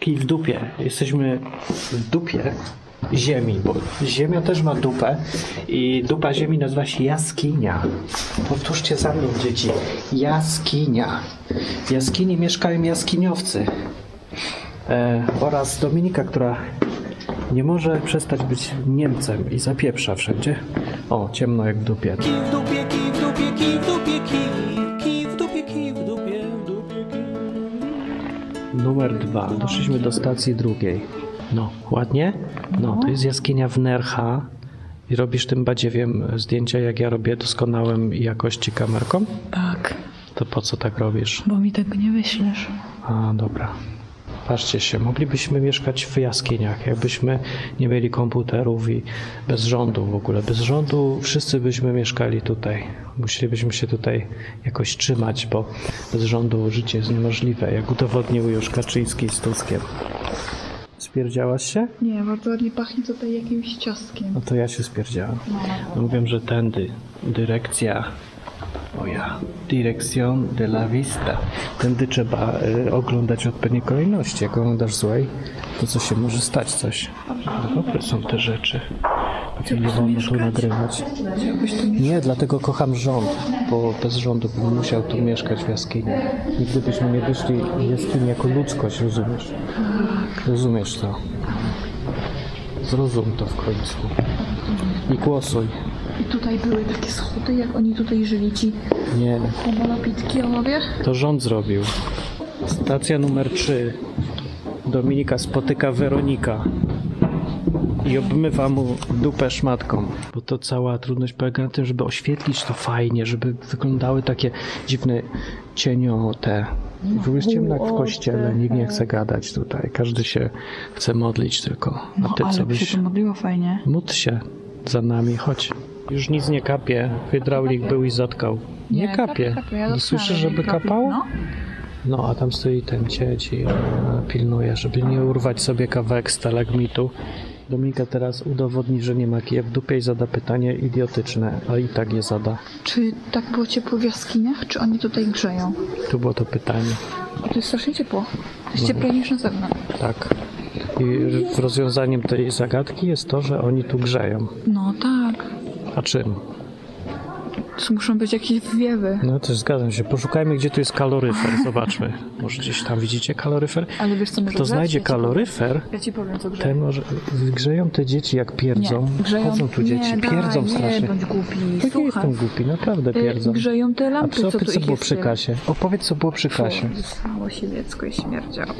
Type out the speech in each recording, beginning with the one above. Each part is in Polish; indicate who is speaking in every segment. Speaker 1: kij w dupie. Jesteśmy w dupie ziemi, bo ziemia też ma dupę i dupa ziemi nazywa się jaskinia. Powtórzcie za mną, dzieci. Jaskinia. W jaskini mieszkają jaskiniowcy e, oraz Dominika, która nie może przestać być Niemcem i zapieprza wszędzie. O, ciemno jak w dupie.
Speaker 2: Kij w dupie, kij w dupie, kij w dupie, kij. Kij w dupie, kij w dupie, w dupie, kij.
Speaker 1: Numer dwa. Doszliśmy do stacji drugiej. No, ładnie? No, to jest jaskinia w Nercha. I robisz tym badziewiem zdjęcia, jak ja robię doskonałym jakości kamerką?
Speaker 3: Tak,
Speaker 1: To po co tak robisz?
Speaker 3: bo mi tego nie wyślesz.
Speaker 1: A, dobra. Patrzcie się, moglibyśmy mieszkać w jaskiniach, jakbyśmy nie mieli komputerów i bez rządu w ogóle. Bez rządu wszyscy byśmy mieszkali tutaj. Musielibyśmy się tutaj jakoś trzymać, bo bez rządu życie jest niemożliwe, jak udowodnił już Kaczyński z Tuskiem. Spierdziałaś się?
Speaker 3: Nie, bardzo nie pachnie tutaj jakimś ciastkiem.
Speaker 1: No to ja się spierdziałem. No mówią, że tędy. Dyrekcja. O ja. Dirección de la vista. Tędy trzeba y, oglądać odpowiedniej kolejności. Jak oglądasz złej, to co się może stać coś. No dobre są te rzeczy. Takie nie wolno tu nagrywać. Nie, dlatego kocham rząd, bo bez rządu bym musiał tu mieszkać w jaskini. Nigdy byśmy nie wyszli z jaskini jako ludzkość, rozumiesz? Rozumiesz to. Zrozum to w końcu. I głosuj.
Speaker 3: I tutaj były takie schody, jak oni tutaj żyli, ci
Speaker 1: Nie,
Speaker 3: homolopitki omowie.
Speaker 1: to rząd zrobił. Stacja numer 3. Dominika spotyka Weronika i obmywa mu dupę szmatką. Bo to cała trudność polega na tym, żeby oświetlić to fajnie, żeby wyglądały takie dziwne cieniote. W ogóle jest ciemno jak w kościele, nikt nie chce gadać tutaj. Każdy się chce modlić tylko. A
Speaker 3: No,
Speaker 1: ty co byś...
Speaker 3: modliło fajnie.
Speaker 1: Módl się za nami, chodź. Już nic nie kapie. Hydraulik był i zatkał. Nie, tak, kapie. nie słyszę, żeby kapało? No. a tam stoi ten cieć i e, pilnuje, żeby nie urwać sobie kawałek stalagmitu. Dominika teraz udowodni, że nie ma kija w dupie i zada pytanie idiotyczne, a i tak je zada.
Speaker 3: Czy tak było ciepło w jaskiniach, czy oni tutaj grzeją?
Speaker 1: Tu było to pytanie.
Speaker 3: O, to jest strasznie ciepło. To jest cieplej niż na zewnątrz.
Speaker 1: Tak. I rozwiązaniem tej zagadki jest to, że oni tu grzeją.
Speaker 3: No tak.
Speaker 1: A czym?
Speaker 3: Tu muszą być jakieś wiewy.
Speaker 1: No też zgadzam się. Poszukajmy, gdzie tu jest kaloryfer. Zobaczmy. Może gdzieś tam widzicie kaloryfer?
Speaker 3: Ale wiesz co, my
Speaker 1: Kto znajdzie kaloryfer,
Speaker 3: Ja ci powiem, co grzeje.
Speaker 1: ten może... Grzeją te dzieci jak pierdzą.
Speaker 3: Nie, grzeją.
Speaker 1: Chodzą tu dzieci,
Speaker 3: nie,
Speaker 1: pierdzą
Speaker 3: daj, Nie,
Speaker 1: strasznie.
Speaker 3: bądź głupi,
Speaker 1: Taki
Speaker 3: słuchaj.
Speaker 1: jestem głupi, naprawdę
Speaker 3: Y,
Speaker 1: pierdzą.
Speaker 3: Grzeją te
Speaker 1: A
Speaker 3: lampy,
Speaker 1: co,
Speaker 3: co tu
Speaker 1: co
Speaker 3: ich
Speaker 1: było
Speaker 3: jest
Speaker 1: przy
Speaker 3: tyle.
Speaker 1: Kasie? Opowiedz, co było przy Kasie.
Speaker 3: Zostało się dziecko i śmierdziało.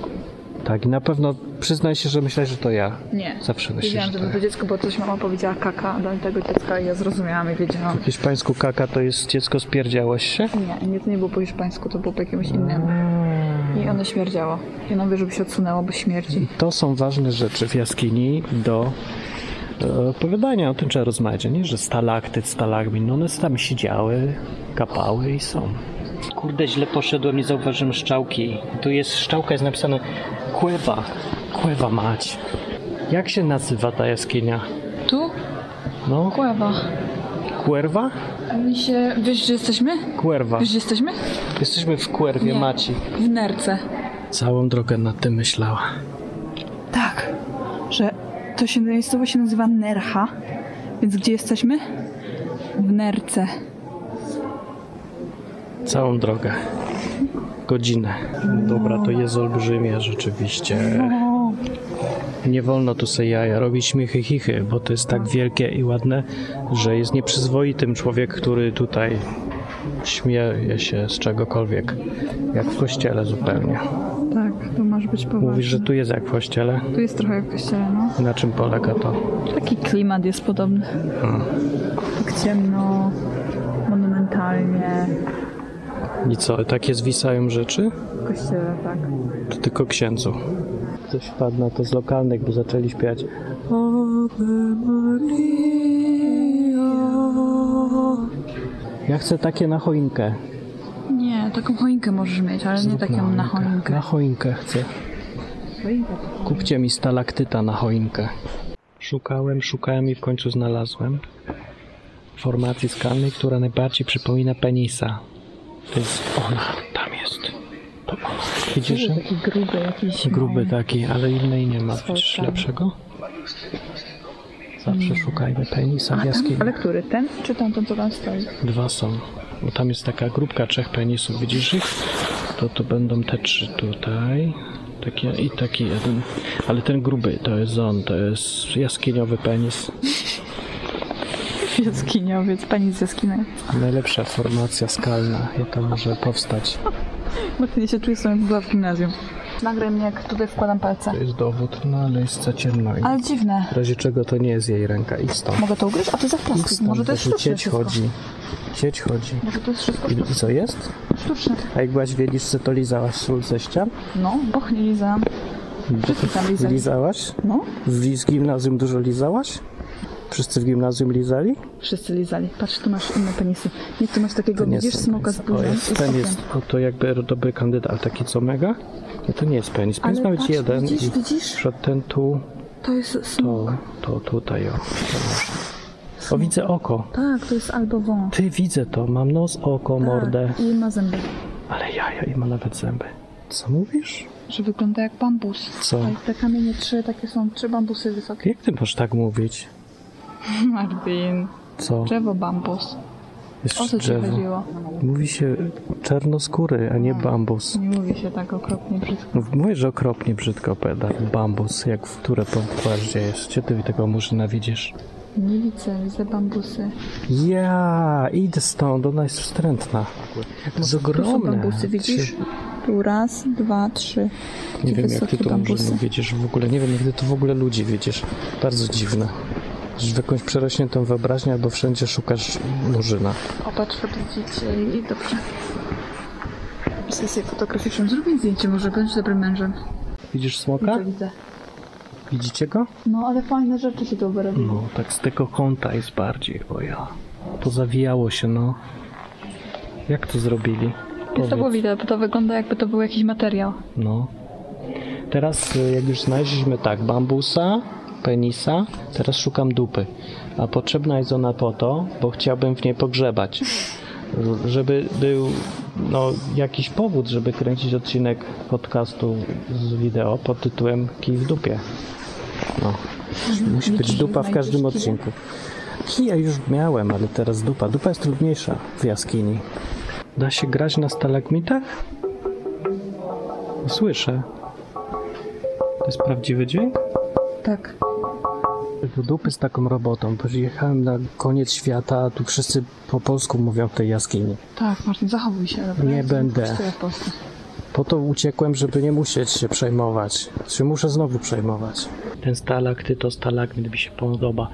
Speaker 1: Tak, i na pewno przyznaj się, że myślałeś, że to ja.
Speaker 3: Nie.
Speaker 1: Zawsze myślisz, tak.
Speaker 3: Wiedziałam,
Speaker 1: że
Speaker 3: że
Speaker 1: to
Speaker 3: to
Speaker 1: ja.
Speaker 3: było dziecko, bo coś mama powiedziała kaka do tego dziecka i ja zrozumiałam i wiedziałam.
Speaker 1: W hiszpańsku kaka to jest dziecko spierdziałaś się?
Speaker 3: Nie, nie, to nie było po hiszpańsku, to było po jakimś innym. I ono śmierdziało. I ona wie, żeby się odsunęło, bo śmierdzi.
Speaker 1: To są ważne rzeczy w jaskini do e, opowiadania, o tym trzeba rozmawiać, a nie? Że stalaktyt, stalagmin, no one tam siedziały, kapały i są. Kurde, źle poszedłem, nie zauważyłem szczałki. Tu jest szczałka, jest napisane Kłewa, Kłewa mać. Jak się nazywa ta jaskinia?
Speaker 3: Tu?
Speaker 1: No,
Speaker 3: Kława.
Speaker 1: Kwerwa?
Speaker 3: A mi się... Wiesz, gdzie jesteśmy?
Speaker 1: Kwerwa.
Speaker 3: Wiesz, gdzie jesteśmy?
Speaker 1: Jesteśmy w Kwerwie
Speaker 3: Nie.
Speaker 1: maci.
Speaker 3: W nerce.
Speaker 1: Całą drogę nad tym myślała.
Speaker 4: Tak, że to się miejscowo się nazywa Nercha. Więc gdzie jesteśmy? W Nerce.
Speaker 1: Całą drogę. Godzinę. Dobra, to jest olbrzymie rzeczywiście. Nie wolno tu sobie jaja robić michy chichy, bo to jest tak wielkie i ładne, że jest nieprzyzwoitym człowiek, który tutaj śmieje się z czegokolwiek. Jak w kościele zupełnie.
Speaker 4: Tak, to może być poważne.
Speaker 1: Mówisz, że tu jest jak w kościele?
Speaker 4: Tu jest trochę jak w kościele, no.
Speaker 1: Na czym polega to?
Speaker 4: Taki klimat jest podobny. Tak ciemno, monumentalnie.
Speaker 1: I co, takie zwisają rzeczy?
Speaker 4: W kościele, tak.
Speaker 1: To tylko księdzu. Ktoś wpadł na to z lokalnych, bo zaczęli śpiewać Ave Maria. Ja chcę takie na choinkę.
Speaker 3: Nie, taką choinkę możesz mieć, ale nie taką na choinkę.
Speaker 1: Na choinkę No. chcę. Kupcie mi stalaktyta na choinkę. Szukałem, szukałem i w końcu znalazłem formacji skalnej, która najbardziej przypomina penisa. To jest ona, tam jest. To ona. Widzisz, że
Speaker 3: Taki gruby jakiś.
Speaker 1: gruby taki, ale innej nie ma.
Speaker 3: Słodka.
Speaker 1: Widzisz lepszego? Zawsze szukajmy penisa w jaskini.
Speaker 3: Ale który? Ten czy tamten, co tam stoi?
Speaker 1: Dwa są. Bo tam jest taka grupka trzech penisów, widzisz ich? To to będą te trzy tutaj. Taki, I taki jeden. Ale ten gruby to jest on, to jest jaskiniowy penis.
Speaker 3: Jaskiniowiec, pani z jaskiny.
Speaker 1: Najlepsza formacja skalna, jaka może powstać.
Speaker 3: Martynie się czuję, jak była w gimnazjum. Nagraj mnie, jak tutaj wkładam palce.
Speaker 1: To jest dowód, no ale jest za ciemno. I
Speaker 3: Ale dziwne.
Speaker 1: w razie czego to nie jest jej ręka. I stąd.
Speaker 3: Mogę to ugryźć? A to jest jak
Speaker 1: I
Speaker 3: plastik.
Speaker 1: stąd
Speaker 3: Może to jest
Speaker 1: właśnie
Speaker 3: sztuczne
Speaker 1: cieć
Speaker 3: wszystko.
Speaker 1: chodzi. Cieć chodzi.
Speaker 3: Może to jest wszystko
Speaker 1: I, I co jest?
Speaker 3: sztuczne.
Speaker 1: A jak byłaś w Wieliczce, to lizałaś sól ze ścian?
Speaker 3: No, boch nie liza. Wszyscy tam lizali.
Speaker 1: Lizałaś?
Speaker 3: No,
Speaker 1: W liz- gimnazjum dużo lizałaś? Wszyscy w gimnazjum lizali?
Speaker 3: wszyscy lizali. Patrz, tu masz inne penisy. Nie, tu masz takiego, widzisz,
Speaker 1: są
Speaker 3: smoka z
Speaker 1: penisy. O,
Speaker 3: burzą.
Speaker 1: jest, ten jest o, to jakby dobry kandydat, ale taki co mega? Nie, to nie jest penis. Penis
Speaker 3: Ale
Speaker 1: ma być
Speaker 3: patrz,
Speaker 1: jeden.
Speaker 3: widzisz,
Speaker 1: i
Speaker 3: widzisz?
Speaker 1: Przed ten tu,
Speaker 3: To jest smok.
Speaker 1: to, to tutaj. O, to masz. o widzę oko.
Speaker 3: Tak, to jest albo wąż.
Speaker 1: Ty widzę to. Mam nos, oko, mordę.
Speaker 3: Tak, I ma zęby.
Speaker 1: Ale jaja i ma nawet zęby. Co mówisz?
Speaker 3: Że wygląda jak bambus.
Speaker 1: Co?
Speaker 3: Tak, te kamienie trzy takie są, trzy bambusy wysokie.
Speaker 1: Jak ty możesz tak mówić?
Speaker 3: Martin.
Speaker 1: Co?
Speaker 3: Drzewo bambus. O
Speaker 1: Jeszcze
Speaker 3: co ci
Speaker 1: drzewo.
Speaker 3: chodziło?
Speaker 1: Mówi się czarnoskóry, a
Speaker 3: Tak.
Speaker 1: nie bambus. No,
Speaker 3: Nie mówi się tak okropnie brzydko.
Speaker 1: Mówisz, że okropnie brzydko opowiada. Bambus, jak w które płaszdzie jest. Gdzie ty tego murzyna widzisz?
Speaker 3: Nie widzę, widzę bambusy.
Speaker 1: Ja, idę stąd, ona jest wstrętna. Z
Speaker 3: Tu No, są
Speaker 1: ogromne.
Speaker 3: bambusy, widzisz? Tu raz, dwa, trzy.
Speaker 1: Nie
Speaker 3: Takie
Speaker 1: wiem, jak ty
Speaker 3: wysokie
Speaker 1: to
Speaker 3: bambusy.
Speaker 1: murzyna widzisz w ogóle. Nie wiem, jak ty to w ogóle ludzi widzisz. Bardzo dziwne. Że w jakąś przerośniętą wyobraźnię albo wszędzie szukasz murzyna.
Speaker 3: Opatrz widzicie i dobrze. Sesję fotograficzną. Zrób mi zdjęcie, może będziesz dobrym mężem.
Speaker 1: Widzisz
Speaker 3: Widzę,
Speaker 1: smoka?
Speaker 3: widzę.
Speaker 1: Widzicie go?
Speaker 3: No, ale fajne rzeczy się tu wyrobiły.
Speaker 1: No, tak z tego kąta jest bardziej, o ja. To zawijało się, no. Jak to zrobili?
Speaker 3: Jest to było
Speaker 1: Powiedz.
Speaker 3: widać, bo to wygląda jakby to był jakiś materiał.
Speaker 1: No. Teraz, y, jak już znaleźliśmy tak, bambusa, penisa, teraz szukam dupy. A potrzebna jest ona po to, bo chciałbym w niej pogrzebać. R- Żeby był no, jakiś powód, żeby kręcić odcinek podcastu z wideo pod tytułem Kij w dupie. No. Musi być
Speaker 3: Liczysz, że
Speaker 1: dupa w każdym
Speaker 3: znajdziesz
Speaker 1: odcinku. Kija już miałem, ale teraz dupa. Dupa jest trudniejsza w jaskini. Da się grać na stalagmitach? Słyszę. To jest prawdziwy dźwięk?
Speaker 3: Tak.
Speaker 1: Do dupy z taką robotą. Przyjechałem na koniec świata, a tu wszyscy po polsku mówią w tej jaskini.
Speaker 3: Tak, Martin, zachowuj się. Dobra?
Speaker 1: Nie będę.
Speaker 3: Pocztuję w Polsce.
Speaker 1: Po to uciekłem, żeby nie musieć się przejmować. Czy muszę znowu przejmować? Ten stalaktyt to stalagmit mi się podoba,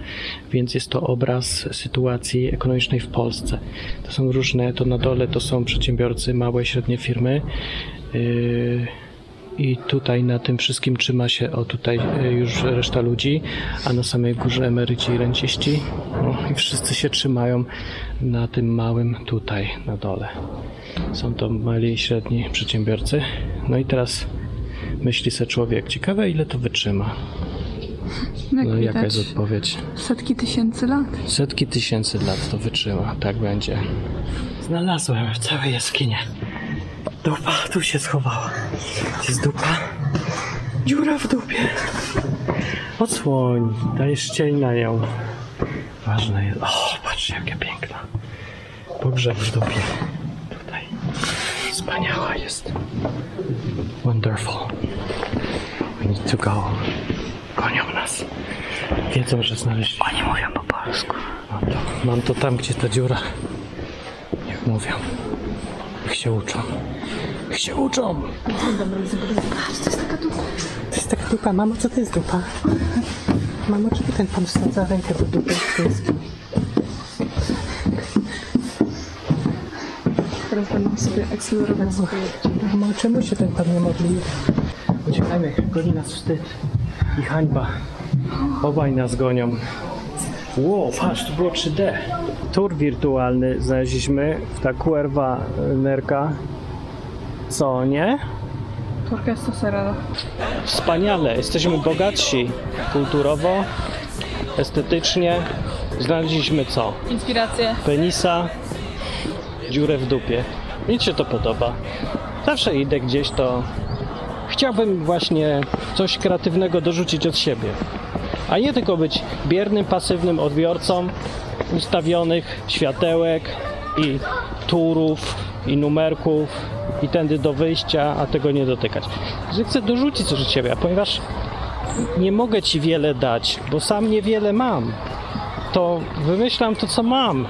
Speaker 1: więc jest to obraz sytuacji ekonomicznej w Polsce. To są różne, to na dole to są przedsiębiorcy, małe i średnie firmy. Yy, I tutaj na tym wszystkim trzyma się o tutaj yy, już reszta ludzi, a na samej górze emeryci i renciści. No, I wszyscy się trzymają na tym małym tutaj na dole. Są to mali i średni przedsiębiorcy. No i teraz myśli se człowiek, ciekawe ile to wytrzyma.
Speaker 3: No,
Speaker 1: No,
Speaker 3: jak
Speaker 1: jaka
Speaker 3: widać,
Speaker 1: jest odpowiedź?
Speaker 3: setki tysięcy lat.
Speaker 1: Setki tysięcy lat to wytrzyma, tak będzie. Znalazłem całe jaskinie. Dupa tu się schowała. Jest dupa. Dziura w dupie. Odsłoń, dajesz cień na nią. Ważne jest. O, patrzcie jakie piękna. Pogrzeb w dupie. Tutaj. Wspaniała jest. Wonderful. We need to go. Gonią nas. Wiedzą, że znaleźliśmy. Oni mówią po polsku. Mam to, mam to tam, gdzie ta dziura. Niech mówią. Niech się uczą. Niech się uczą. To jest taka dupa. Mamo, co to jest dupa? Mamo, czemu ten pan wsadza rękę do dupy? To jest-
Speaker 3: Teraz będą sobie eksplorować swoje
Speaker 1: Mamo, czemu się ten pan nie modli? Uciekajmy, goni nas wstyd i hańba. Obaj nas gonią. Wow, patrz, tu było 3D. Tur wirtualny znaleźliśmy, ta kurwa nerka. Co, nie?
Speaker 3: Turka jest to serada.
Speaker 1: Wspaniale, jesteśmy bogatsi kulturowo, estetycznie. Znaleźliśmy co?
Speaker 3: Inspiracje.
Speaker 1: penisa, dziurę w dupie. Mi się to podoba. Zawsze idę gdzieś, to chciałbym właśnie coś kreatywnego dorzucić od siebie, a nie tylko być biernym, pasywnym odbiorcą ustawionych światełek i turów i numerków i tędy do wyjścia, a tego nie dotykać. Że chcę dorzucić coś od siebie, a ponieważ nie mogę ci wiele dać, bo sam niewiele mam, to wymyślam to, co mam.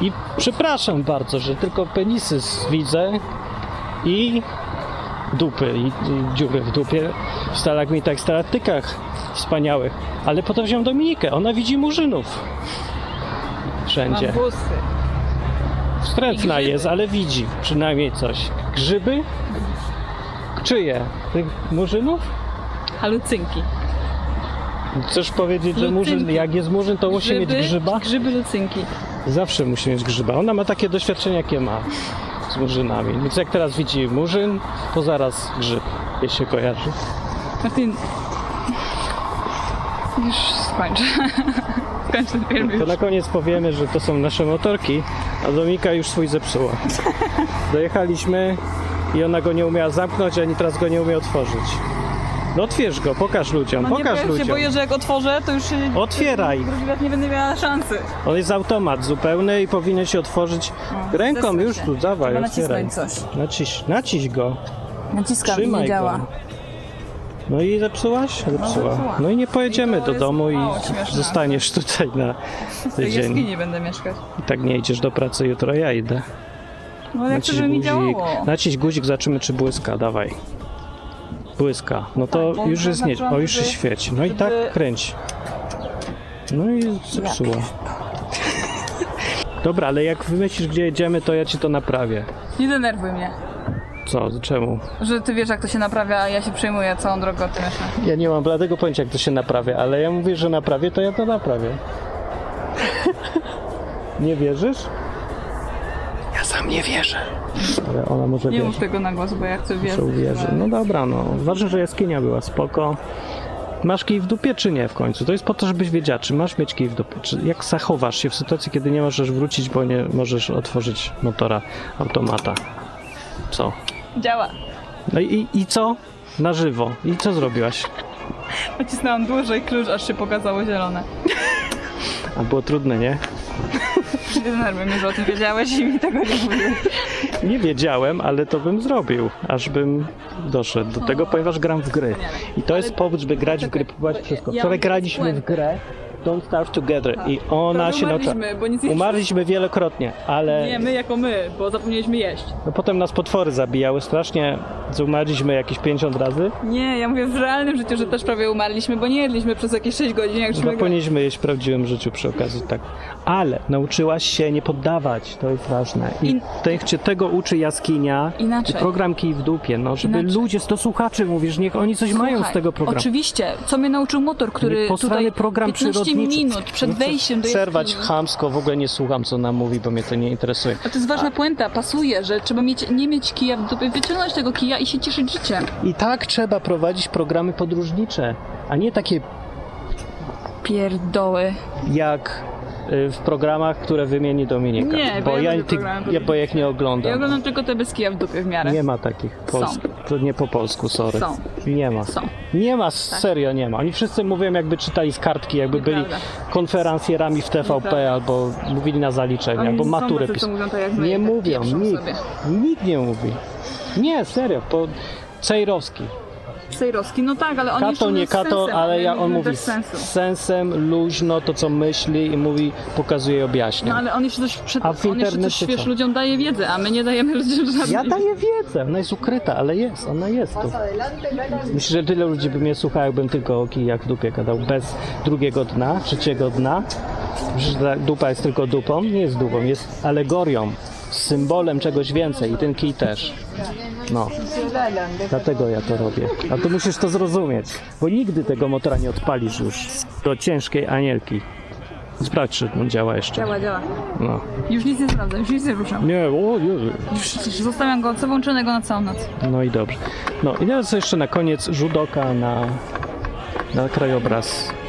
Speaker 1: I przepraszam bardzo, że tylko penisy s- widzę i dupy i, i dziury w dupie w stalagmitach, stalatykach wspaniałych. Ale potem wziąłem Dominikę, ona widzi murzynów wszędzie. Wstrętna jest, ale widzi przynajmniej coś. Grzyby? Czyje? Tych murzynów?
Speaker 3: Halucynki.
Speaker 1: Chcesz powiedzieć, że
Speaker 3: Lucynki.
Speaker 1: murzyn, jak jest murzyn, to musi mieć grzyba?
Speaker 3: Grzyby lucynki.
Speaker 1: Zawsze musi mieć grzyba. Ona ma takie doświadczenia, jakie ma z murzynami. Więc jak teraz widzi murzyn, to zaraz grzyb jej się kojarzy.
Speaker 3: Martin, już skończę. skończę ten film
Speaker 1: To
Speaker 3: już.
Speaker 1: na koniec powiemy, że to są nasze motorki, a Dominika już swój zepsuła. Dojechaliśmy i ona go nie umiała zamknąć, ani teraz go nie umie otworzyć. No otwierz go, pokaż ludziom,
Speaker 3: No nie
Speaker 1: pokaż
Speaker 3: powiem, się
Speaker 1: ludziom.
Speaker 3: boję, że jak otworzę, to już się
Speaker 1: Otwieraj.
Speaker 3: drugi raz nie będę miała szansy.
Speaker 1: On jest automat zupełny i powinien się otworzyć ręką
Speaker 3: zesrać
Speaker 1: już
Speaker 3: się.
Speaker 1: tu, dawaj,
Speaker 3: Trzeba
Speaker 1: otwieraj.
Speaker 3: nacisnąć coś.
Speaker 1: Naciś, naciś go.
Speaker 3: Naciskam
Speaker 1: Trzymaj
Speaker 3: nie działa.
Speaker 1: Go. No i zepsułaś? Zepsuła.
Speaker 3: zepsułam.
Speaker 1: No i nie pojedziemy
Speaker 3: I to
Speaker 1: do
Speaker 3: jest
Speaker 1: domu i
Speaker 3: mało śmieszne.
Speaker 1: zostaniesz tutaj na
Speaker 3: W tej
Speaker 1: tydzień.
Speaker 3: jaskini będę mieszkać.
Speaker 1: I tak nie idziesz do pracy jutro, ja idę.
Speaker 3: No jak to żeby mi działało?
Speaker 1: naciś guzik, zobaczymy czy błyska, dawaj. Błyska. No to
Speaker 3: Tak, bo
Speaker 1: już jest nie,
Speaker 3: zaznaczyłam,
Speaker 1: o już się
Speaker 3: żeby-
Speaker 1: świeci. No i tak
Speaker 3: żeby-
Speaker 1: kręć. No i zepsuła. Dobra, ale jak wymyślisz gdzie jedziemy, to ja ci to naprawię.
Speaker 3: Nie denerwuj mnie,
Speaker 1: Co, czemu?
Speaker 3: że ty wiesz jak to się naprawia, a ja się przejmuję całą drogą o tym myślę.
Speaker 1: Ja nie mam bladego pojęcia, jak to się naprawia, ale ja mówię, że naprawię, to ja to naprawię. nie wierzysz?
Speaker 5: Ja sam nie wierzę.
Speaker 1: Ale ona może
Speaker 3: Nie
Speaker 1: wierzy.
Speaker 3: mów tego na głos, bo ja chcę
Speaker 1: że
Speaker 3: wiedzieć.
Speaker 1: uwierzy. No dobra, no. Ważne, że jaskinia była spoko. Masz kij w dupie, czy nie w końcu? To jest po to, żebyś wiedziała, czy masz mieć kij w dupie. Czy jak zachowasz się w sytuacji, kiedy nie możesz wrócić, bo nie możesz otworzyć motora automata. Co?
Speaker 3: Działa.
Speaker 1: No i, i co? Na żywo. I co zrobiłaś?
Speaker 3: Nacisnęłam dłużej klucz, aż się pokazało zielone.
Speaker 1: A było trudne, nie?
Speaker 3: Nie denerwuj mnie, że o tym wiedziałeś i mi tego nie mówiłeś.
Speaker 1: Nie wiedziałem, ale to bym zrobił, aż bym doszedł do tego, ponieważ gram w gry. I to jest powód, żeby grać w gry, próbować wszystko.
Speaker 3: ja
Speaker 1: Wczoraj
Speaker 3: mam
Speaker 1: graliśmy w
Speaker 3: puentę.
Speaker 1: grę Don't Starve Together i ona się nauczyła.
Speaker 3: bo nic
Speaker 1: Umarliśmy wielokrotnie, ale
Speaker 3: Nie, my jako my, bo zapomnieliśmy jeść.
Speaker 1: no potem nas potwory zabijały strasznie. Umarliśmy jakieś 50 razy.
Speaker 3: Nie, ja mówię w realnym życiu, że też prawie umarliśmy, bo nie jedliśmy przez jakieś 6 godzin, jak szliśmy
Speaker 1: Zapomnieliśmy jeść w prawdziwym życiu przy okazji, tak. Ale nauczyłaś się nie poddawać, to jest ważne. I
Speaker 3: In-
Speaker 1: tych cię tego uczy jaskinia.
Speaker 3: Inaczej.
Speaker 1: I program kij w dupie, no, żeby
Speaker 3: Inaczej.
Speaker 1: ludzie, do słuchaczy mówisz, niech oni coś mają z
Speaker 3: Słuchaj,
Speaker 1: tego programu.
Speaker 3: Oczywiście, co mnie nauczył motor, który
Speaker 1: Posrany
Speaker 3: tutaj
Speaker 1: program
Speaker 3: 15
Speaker 1: przyrodniczy.
Speaker 3: minut przed wejściem do
Speaker 1: Przerwać
Speaker 3: jaskini.
Speaker 1: chamsko, w ogóle nie słucham, co nam mówi, bo mnie to nie interesuje.
Speaker 3: A to jest ważna puenta, pasuje, że trzeba mieć, nie mieć kija w dupie, wyciągnąć tego kija i się cieszyć życiem.
Speaker 1: I tak trzeba prowadzić programy podróżnicze, a nie takie
Speaker 3: Pierdoły.
Speaker 1: jak y, w programach, które wymieni Dominika.
Speaker 3: Nie,
Speaker 1: bo
Speaker 3: bo ja
Speaker 1: ja,
Speaker 3: lubię
Speaker 1: tych-
Speaker 3: programy
Speaker 1: ja bo jak nie
Speaker 3: Ja
Speaker 1: oglądam.
Speaker 3: oglądam tylko te bez kija w dupie w miarę.
Speaker 1: nie ma takich Polsk. To nie po polsku, sorry.
Speaker 3: Są.
Speaker 1: Nie ma.
Speaker 3: Są. Tak.
Speaker 1: Nie ma, serio nie ma. Oni wszyscy mówią, jakby czytali z kartki, jakby byli
Speaker 3: Nieprawda.
Speaker 1: konferencjerami w TVP
Speaker 3: Nieprawda.
Speaker 1: albo mówili na zaliczeniu,
Speaker 3: Oni
Speaker 1: albo
Speaker 3: są
Speaker 1: maturę
Speaker 3: tacy, co
Speaker 1: pisali.
Speaker 3: mówią tak jak my,
Speaker 1: Nie
Speaker 3: tak
Speaker 1: mówią,
Speaker 3: pieprzą
Speaker 1: nikt.
Speaker 3: sobie.
Speaker 1: Nikt nie mówi. Nie, serio, po Cejrowski.
Speaker 3: Sejrowski, no tak, ale on
Speaker 1: Kato, nie kato, ale ja, on mówi
Speaker 3: bez sensu.
Speaker 1: z sensem, luźno to, co myśli i mówi, pokazuje i objaśnia.
Speaker 3: No ale on jeszcze coś, przed,
Speaker 1: A w
Speaker 3: on jeszcze coś
Speaker 1: internecie
Speaker 3: wiesz,
Speaker 1: co?
Speaker 3: ludziom daje wiedzę, a my nie dajemy ludziom żadnej
Speaker 1: Ja daję wiedzę, ona jest ukryta, ale jest, ona jest tu. Myślę, że tyle ludzi by mnie słuchało, jakbym tylko o kijach w dupie gadał, bez drugiego dna, trzeciego dna. Że ta dupa jest tylko dupą, nie jest dupą, jest alegorią, symbolem czegoś więcej i ten kij też. No, dlatego ja to robię. A to musisz to zrozumieć, bo nigdy tego motora nie odpalisz już do ciężkiej anielki. Sprawdź, czy on działa jeszcze.
Speaker 3: Działa, działa.
Speaker 1: No.
Speaker 3: Już nic nie sprawdzam, już nic nie ruszam.
Speaker 1: Nie, o Jezu.
Speaker 3: Zostawiam go, co włączone go na całą noc.
Speaker 1: No i dobrze. No i teraz jeszcze na koniec rzut oka na, na krajobraz